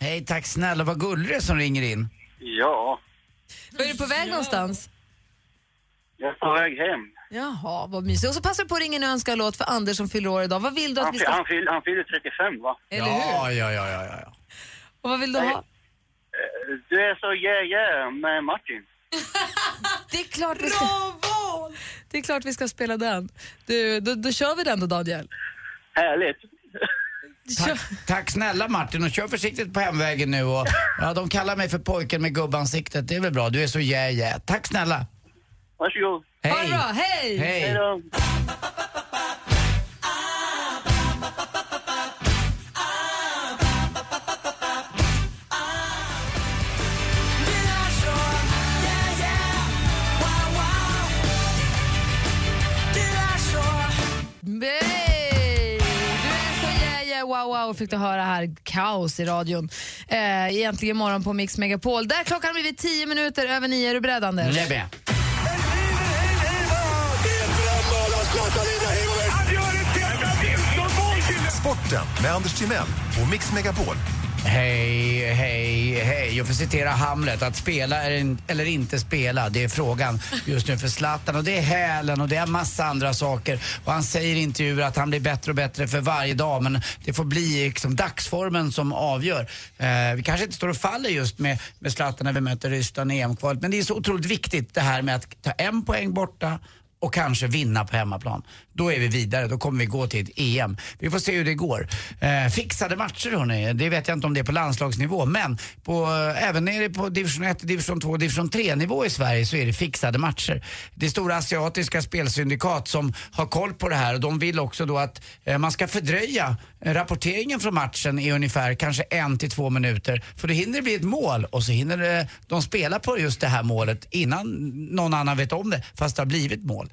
Speaker 4: Hej, tack snälla. Vad gullig du är som ringer in.
Speaker 19: Ja,
Speaker 2: Var är du på väg någonstans?
Speaker 19: jag är på väg hem.
Speaker 2: Jaha, vad mysigt. Och så passar du på att ringa en önskan-låt för Anders som fyller år idag. Vad vill du att
Speaker 19: Han,
Speaker 2: vi
Speaker 19: fyll, han,
Speaker 2: ska...
Speaker 19: fyll, han fyller 35 va?
Speaker 2: Eller
Speaker 4: ja, hur? Ja, ja, ja, ja. ja.
Speaker 2: Och vad vill du ha?
Speaker 19: Eh, Du är så yeah yeah med Martin.
Speaker 2: Det är klart vi ska... Det är klart vi ska spela den. Du, då, då kör vi den då, Daniel.
Speaker 19: Härligt.
Speaker 4: Tack, tack snälla Martin och kör försiktigt på hemvägen nu. Och, ja, de kallar mig för pojken med gubbansiktet. Det är väl bra. Du är så jä jä. Tack snälla.
Speaker 19: Varsågod.
Speaker 4: Hej.
Speaker 2: Ha det bra, hej!
Speaker 4: Hej.
Speaker 19: då.
Speaker 2: Hey! Du är så yeah, yeah, wow, wow, fick du höra här. Kaos i radion. Eh, egentligen imorgon på Mix Megapol. Där klockan har blivit 10 minuter över nio. Är du beredd, Anders?
Speaker 4: Jag är med.
Speaker 12: Sporten med Anders Timell och Mix Megapol.
Speaker 4: Hej, hej, hej. Jag får citera Hamlet. Att spela är in, eller inte spela, det är frågan just nu för Zlatan. Och det är hälen och det är massa andra saker. Och han säger i intervjuer att han blir bättre och bättre för varje dag. Men det får bli liksom dagsformen som avgör. Eh, vi kanske inte står och faller just med, med Zlatan när vi möter Ryssland i EM-kvalet. Men det är så otroligt viktigt det här med att ta en poäng borta och kanske vinna på hemmaplan. Då är vi vidare, då kommer vi gå till ett EM. Vi får se hur det går. Eh, fixade matcher hörni, det vet jag inte om det är på landslagsnivå men på, eh, även nere på division 1, division 2, division 3 nivå i Sverige så är det fixade matcher. Det är stora asiatiska spelsyndikat som har koll på det här och de vill också då att eh, man ska fördröja eh, rapporteringen från matchen i ungefär kanske en till två minuter för då hinner det bli ett mål och så hinner det, de spela på just det här målet innan någon annan vet om det fast det har blivit mål.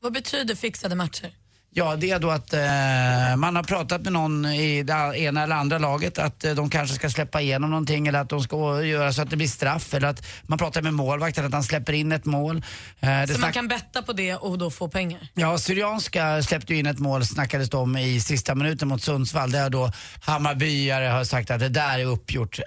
Speaker 8: Vad betyder fixade matcher?
Speaker 4: Ja, det är då att eh, man har pratat med någon i det ena eller andra laget att eh, de kanske ska släppa igenom någonting eller att de ska göra så att det blir straff eller att man pratar med målvakten att han släpper in ett mål. Eh, det
Speaker 8: Så man
Speaker 4: snack-
Speaker 8: kan betta på det och då få pengar?
Speaker 4: Ja, Syrianska släppte ju in ett mål, snackades det om, i sista minuten mot Sundsvall. Där då Hammarbyare har sagt att det där är uppgjort.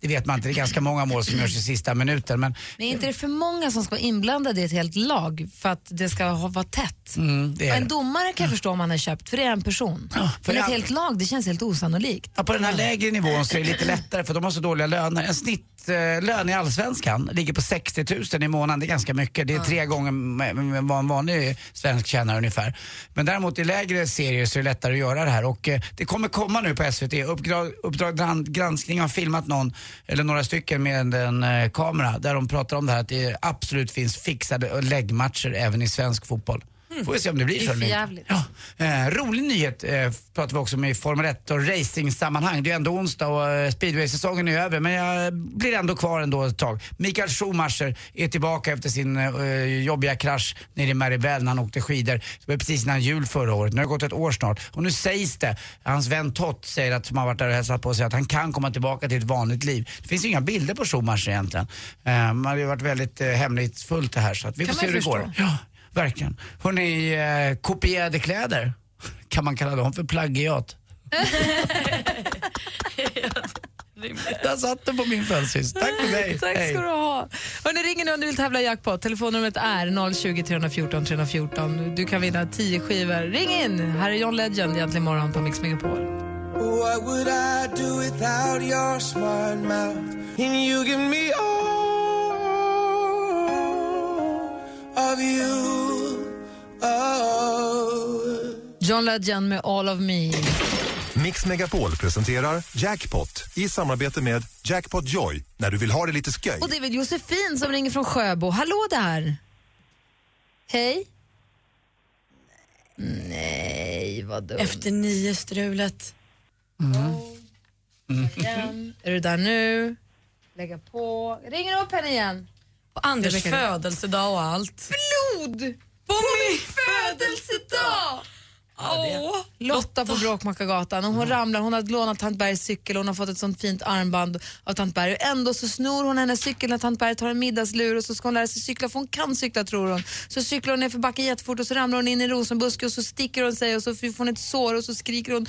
Speaker 4: Det vet man inte, det är ganska många mål som görs i sista minuten. Men
Speaker 2: Men är inte det för många som ska vara inblandade i ett helt lag för att det ska ha- vara tätt?
Speaker 4: mm, det är
Speaker 2: En
Speaker 4: det.
Speaker 2: domare kan jag förstå om han är köpt, för det är en person. Men ett
Speaker 4: jag-
Speaker 2: helt lag, det känns helt osannolikt.
Speaker 4: Ja, på den här lägre nivån så är det lite lättare för de har så dåliga löner. En snittlön i Allsvenskan ligger på 60 000 i månaden. Det är ganska mycket. Det är tre gånger m- m- vad en vanlig svensk tjänar ungefär. Men däremot i lägre serier så är det lättare att göra det här. Och eh, det kommer komma nu på SVT. Uppdrag, uppdrag gran- granskning har filmat någon, eller några stycken med en eh, kamera där de pratar om det här att det absolut finns fixade eh, läggmatcher även i svensk fotboll. Får vi se om det blir
Speaker 2: Mm. Det
Speaker 4: så.
Speaker 2: är
Speaker 4: eller
Speaker 2: för
Speaker 4: inte.
Speaker 2: jävligt.
Speaker 4: Ja. Eh, rolig nyhet eh, pratar vi också om i Formel 1 och racing-sammanhang. Det är ju ändå onsdag och eh, speedway-säsongen är över men jag blir ändå kvar ändå ett tag. Mikael Schumacher är tillbaka efter sin eh, jobbiga krasch nere i Maribel när han åkte skidor. Det var precis innan jul förra året. Nu har det gått ett år snart och nu sägs det, hans vän Tott säger att, som har varit där och hälsat på sig, att han kan komma tillbaka till ett vanligt liv. Det finns ju inga bilder på Schumacher egentligen. Eh, man har ju varit väldigt eh, hemlighetsfullt det här så att vi
Speaker 2: Kan
Speaker 4: får
Speaker 2: man
Speaker 4: se hur
Speaker 2: ju
Speaker 4: det går.
Speaker 2: förstå.
Speaker 4: Ja. Verkligen. Hörrni, eh, kopierade kläder. Kan man kalla dem för
Speaker 2: (laughs)
Speaker 4: plagiat? Där satt den på min födelsedag. Tack för mig.
Speaker 2: (laughs) Tack ska du ha. Hörrni, ring nu om du vill tävla i jackpot. Telefonnumret är 020 314 314. Du kan vinna 10 skivor. Ring in! Här är John Legend egentligen morgon på Mix Megapol.
Speaker 7: What would I do without your smart mouth? And you give me all of you. Oh.
Speaker 2: John Legend med All of Me.
Speaker 12: Mix Megapol presenterar Jackpot i samarbete med Jackpot Joy när du vill ha det lite sköj.
Speaker 2: Och det är väl Josefin som ringer från Sjöbo. Hallå där! Hej. Nej, vad dumt.
Speaker 8: Efter nio strulet.
Speaker 2: Igen. Är du där nu? Lägga på. Ringer upp henne igen.
Speaker 8: På Anders
Speaker 2: Rebecca, det-
Speaker 8: födelsedag och allt.
Speaker 2: Blod!
Speaker 8: På min födelsedag! Åh!
Speaker 2: Lotta på Bråkmakargatan och hon ramlar, hon har lånat tant Bergs cykel och hon har fått ett sånt fint armband av tant Berg. Och Ändå så snor hon hennes cykel när tant Berg tar en middagslur och så ska hon lära sig cykla för hon kan cykla tror hon. Så cyklar hon nerför backen jättefort och så ramlar hon in i en rosenbuske och så sticker hon sig och så får hon ett sår och så skriker hon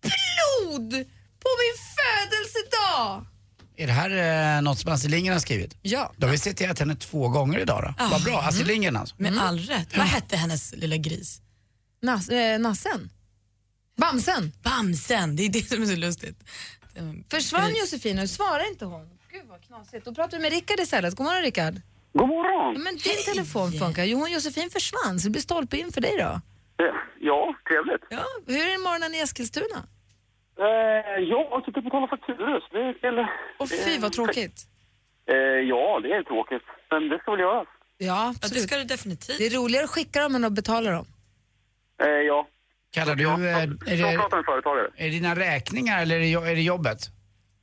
Speaker 2: blod på min födelsedag!
Speaker 4: Är det här eh, något som Astrid Lindgren har skrivit?
Speaker 2: Ja.
Speaker 4: Då har vi citerat henne två gånger idag då.
Speaker 8: Ja.
Speaker 4: Vad bra, Astrid
Speaker 2: Mm.
Speaker 4: Lindgren alltså.
Speaker 8: Med all rätt. Vad hette hennes lilla gris?
Speaker 2: Nas, eh, nassen? Bamsen?
Speaker 8: Bamsen, det är det som är så lustigt.
Speaker 2: Försvann Josefin nu? Svarar inte hon? Gud vad knasigt. Då pratar vi med Rickard istället. God morgon Rickard.
Speaker 20: God morgon!
Speaker 2: Men din telefon funkar. Jo, hon Josefin försvann så det blir stolpe in för dig då.
Speaker 20: Eh, Ja, trevligt.
Speaker 2: Ja. Hur är det morgonen i Eskilstuna?
Speaker 20: Eh, ja, jag sitter och betalar fakturor. så Det är eller,
Speaker 2: Och fy
Speaker 8: Mm.
Speaker 2: vad tråkigt.
Speaker 20: eh, ja, det är tråkigt. Men det ska väl göras.
Speaker 2: Ja, absolut. det ska
Speaker 8: du definitivt.
Speaker 2: Det är roligare att skicka dem än att betala dem.
Speaker 20: Eh, ja.
Speaker 4: Kallar du... eh, Är
Speaker 20: Jag
Speaker 4: det,
Speaker 20: pratar med företagare.
Speaker 4: är det dina räkningar eller är det, jo- är det jobbet?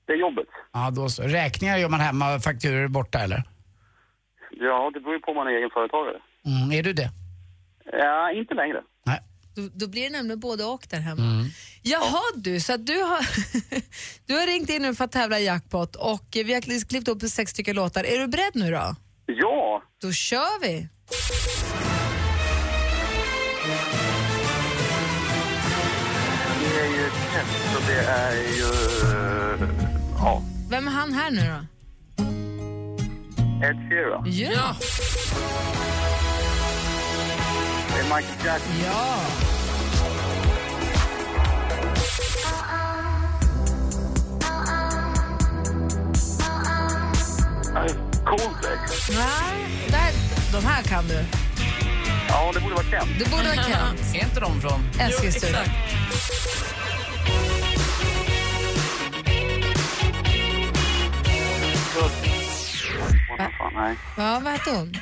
Speaker 20: Det är jobbet.
Speaker 4: Ja, då så. Räkningar gör man hemma, fakturor borta eller?
Speaker 20: Ja, det beror ju på om man är egen företagare.
Speaker 4: Mm, är du det?
Speaker 20: Ja, inte längre.
Speaker 2: Då, då blir det nämligen både och där hemma. Jaha du, så att du har, (laughs) du har ringt in nu för att tävla i jackpot och vi har klippt upp sex stycken låtar. Är du beredd nu då?
Speaker 20: Ja,
Speaker 2: Då kör vi!
Speaker 20: det är ju Kent och det är ju... Ja,
Speaker 2: Vem är han här nu då?
Speaker 20: Ed Sheeran.
Speaker 2: Ja!
Speaker 20: Det är Michael Jackson.
Speaker 2: Ja!
Speaker 20: Coldplay.
Speaker 2: Nej, där, de här kan du.
Speaker 20: Ja, det borde vara Kent.
Speaker 2: Det borde vara (laughs) Kent.
Speaker 4: Är inte de från...
Speaker 2: Eskilstuna.
Speaker 20: Vad fan, nej.
Speaker 2: Ja, vad hette hon?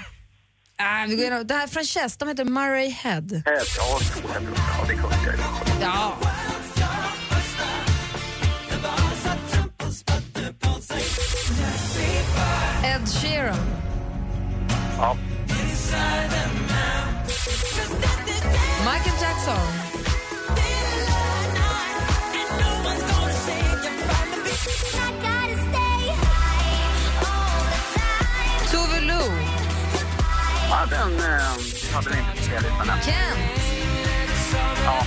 Speaker 2: Ah, vi går igenom. Det här är från Chess, de heter Murray Head.
Speaker 20: Ed, Eh, ja, så heter det. Ja, det kunde jag ju.
Speaker 2: Ja. Ed Sheeran.
Speaker 20: Ja.
Speaker 2: Michael Jackson. Tove Lo.
Speaker 20: Ja, den eh, hade ni inte på spellistan än.
Speaker 2: Kent.
Speaker 20: Ja.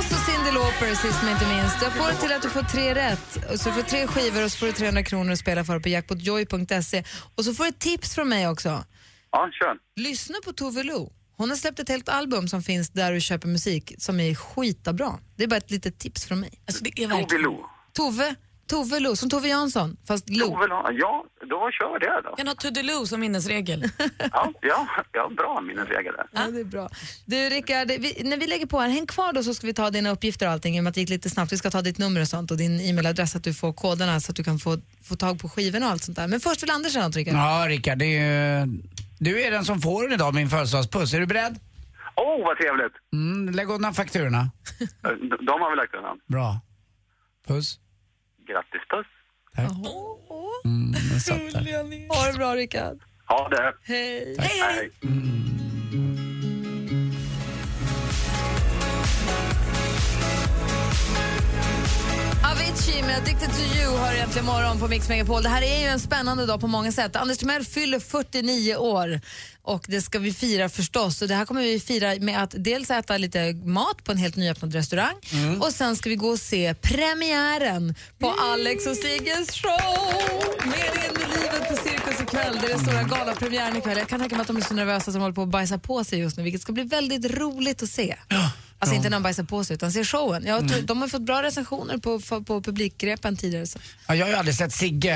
Speaker 2: Och så Cyndi Lauper sist men inte minst. Jag får det till att du får tre rätt. Och så du får tre skivor och så får du 300 kronor att spela för på jackpotjoy.se. Och så får du ett tips från mig också.
Speaker 20: Ja, kör.
Speaker 2: Lyssna på Tove Lo. Hon har släppt ett helt album som finns där du köper musik som är skitabra. Det är bara ett litet tips från mig.
Speaker 8: Alltså,
Speaker 20: Tove Lo.
Speaker 2: Tove, Tove Lo, som Tove Jansson, fast Lo.
Speaker 20: Tove Lo. Ja, då kör vi det då.
Speaker 8: Kan ha to-do-lo som minnesregel.
Speaker 20: Ja, ja, ja bra minnesregel där.
Speaker 2: Ja, det är bra. Du Rickard, vi, när vi lägger på här, häng kvar då så ska vi ta dina uppgifter och allting i och med att det gick lite snabbt. Vi ska ta ditt nummer och sånt och din e-mailadress så att du får koderna så att du kan få, få tag på skivorna och allt sånt där. Men först vill Anders säga något Rickard.
Speaker 4: Ja, Rickard, det är ju... Du är den som får den idag, min födelsedagspuss. Är du beredd?
Speaker 20: Åh, vad trevligt!
Speaker 4: Mm, lägg undan fakturorna.
Speaker 20: Eh, de- De har vi lagt undan.
Speaker 4: Bra. Puss.
Speaker 20: Grattis, puss.
Speaker 4: Tack. Mm, den satt där.
Speaker 2: Ha det bra Rickard.
Speaker 20: Ha det.
Speaker 2: Hej.
Speaker 20: Hej.
Speaker 2: Avicii Avicii med Addicted to you har egentligen morgon på Mix Megapol. Det här är ju en spännande dag på många sätt. Anders Timell fyller 49 år och det ska vi fira förstås. Och det här kommer vi fira med att dels äta lite mat på en helt nyöppnad restaurang
Speaker 16: Mm.
Speaker 2: och sen ska vi gå och se premiären på Alex och Sigges show! Meningen med livet på Cirkus ikväll. Det är den stora galapremiären ikväll. Jag kan tänka mig att de är så nervösa som håller på att bajsa på sig just nu vilket ska bli väldigt roligt att se. Alltså inte när de bajsar på sig utan ser showen. Jag tror,
Speaker 4: Mm.
Speaker 2: De har fått bra recensioner på, på, på publikgrepen tidigare. Så.
Speaker 4: Ja, jag har ju aldrig sett Sigge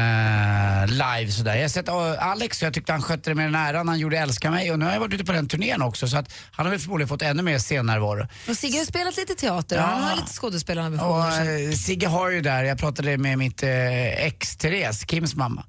Speaker 4: eh, live sådär. Jag har sett eh, Alex och jag tyckte han skötte det med den äran han gjorde Älska mig och nu har jag varit ute på den turnén också så att han har väl förmodligen fått ännu mer scennärvaro.
Speaker 2: Och Sigge har ju spelat lite teater
Speaker 4: Ja.
Speaker 2: han har lite skådespelarambitioner.
Speaker 4: Och eh, Sigge har ju där, jag pratade med mitt eh, ex Therese, Kims mamma,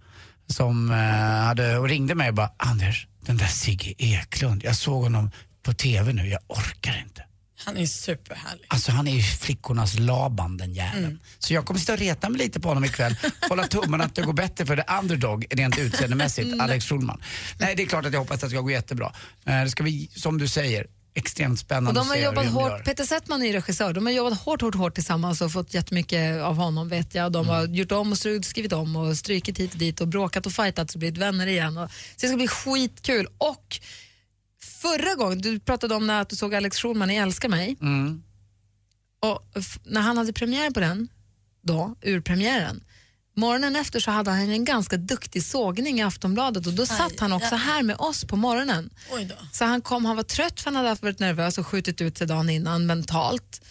Speaker 4: som eh, hade, och ringde mig och bara Anders, den där Sigge Eklund, jag såg honom på TV nu, jag orkar inte.
Speaker 8: Han är superhärlig.
Speaker 4: Alltså han är ju flickornas Laban den jäveln.
Speaker 8: Mm.
Speaker 4: Så jag kommer sitta och reta mig lite på honom ikväll. Hålla tummarna att det går bättre för the underdog rent utseendemässigt,
Speaker 2: Mm.
Speaker 8: Nej.
Speaker 4: Alex Schulman. Nej det är klart att jag hoppas att det ska gå jättebra. Eh, Det ska bli, som du säger, extremt
Speaker 2: Och
Speaker 4: spännande
Speaker 2: de har
Speaker 4: att se
Speaker 2: jobbat
Speaker 4: hur de
Speaker 2: hårt,
Speaker 4: gör.
Speaker 2: Peter Settman är ju regissör, de har jobbat hårt, hårt, hårt tillsammans och fått jättemycket av honom vet jag. De har gjort om och stru- skrivit om och strykit hit och dit och bråkat och fightat och blivit vänner igen. Och, så det ska bli skitkul. Och förra gången, du pratade om när att du såg Alex Schulman i Älska mig.
Speaker 4: Mm.
Speaker 2: Och f- när han hade premiär på den, då, urpremiären, morgonen efter så hade han en ganska duktig sågning i Aftonbladet och då satt han också
Speaker 8: ja.
Speaker 2: här med oss på morgonen.
Speaker 8: Oj då.
Speaker 2: Så han kom, han var trött för han hade haft- varit nervös och skjutit ut sig dagen innan mentalt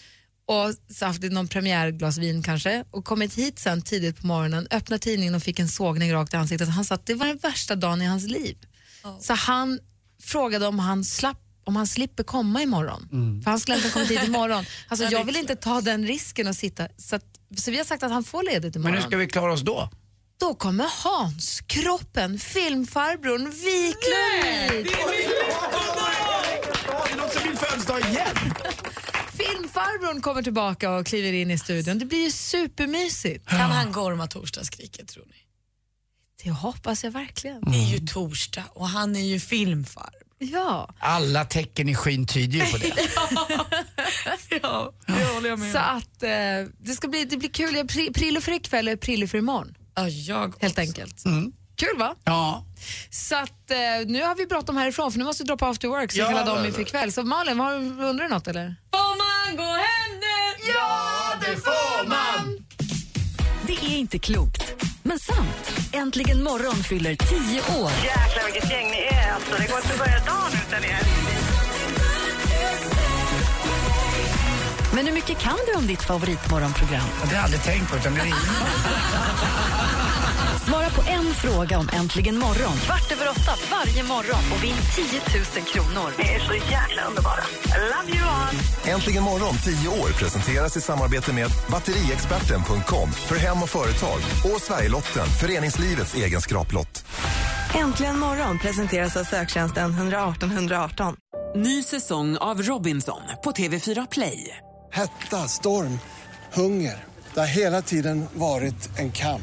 Speaker 2: och så haft någon premiärglas vin kanske och kommit hit sen tidigt på morgonen, öppnade tidningen och fick en sågning rakt i ansiktet. Han sa att det var den värsta dagen i hans liv. Så han frågade om han slapp om han slipper komma imorgon.
Speaker 4: Mm.
Speaker 2: För han skulle inte komma hit imorgon. Alltså,
Speaker 8: Ja, det är
Speaker 2: jag vill inte ta den risken och sitta. Så, att, så vi har sagt att han får ledigt
Speaker 4: Men
Speaker 2: imorgon.
Speaker 4: hur ska vi klara oss då?
Speaker 2: Då kommer Hans, kroppen, filmfarbrorn Wiklund hit.
Speaker 4: Det är någon som vill födelsedag igen!
Speaker 2: Filmfarbrorn kommer tillbaka och kliver in i studion. Det blir ju supermysigt.
Speaker 8: Kan han gorma torsdagsskriket tror ni?
Speaker 2: Det hoppas jag verkligen.
Speaker 8: Det är ju torsdag och han är ju filmfar.
Speaker 2: Ja.
Speaker 4: Alla tecken i skyn tyder ju på det.
Speaker 2: (laughs)
Speaker 8: ja, det håller jag med
Speaker 2: Så att eh, det ska bli det blir kul. Jag pri, prillo för ikväll och prillo för imorgon.
Speaker 8: Ja, jag
Speaker 2: Helt enkelt.
Speaker 4: Mm.
Speaker 2: Kul va?
Speaker 4: Ja.
Speaker 2: Så att eh, nu har vi bråttom härifrån för nu måste vi droppa after work så
Speaker 8: Ja,
Speaker 2: ja, kalla
Speaker 8: men-
Speaker 2: dem inför ikväll. Så Malin, har, undrar du något eller?
Speaker 8: Får man gå hem nu?
Speaker 2: Ja,
Speaker 8: det
Speaker 2: får man!
Speaker 3: Det är inte klokt, men sant. Äntligen morgon fyller 10 år.
Speaker 11: Jäklar vilket gäng ni är alltså. Det går inte att börja dagen utan er.
Speaker 3: Men hur mycket kan du om ditt favoritmorgonprogram?
Speaker 4: Det har jag aldrig tänkt på utan det ringer.
Speaker 3: Svara på en fråga om Äntligen morgon kvart över åtta varje morgon och vinn 10 000 kronor.
Speaker 11: Ni är så jäkla underbara. I love you all.
Speaker 12: Äntligen morgon 10 år presenteras i samarbete med batteriexperten.com för hem och företag och Sverigelotten, föreningslivets egen skraplott.
Speaker 13: Äntligen morgon presenteras av söktjänsten 118 118.
Speaker 21: Ny säsong av Robinson på TV4 Play.
Speaker 22: Hetta, storm, hunger. Det har hela tiden varit en kamp.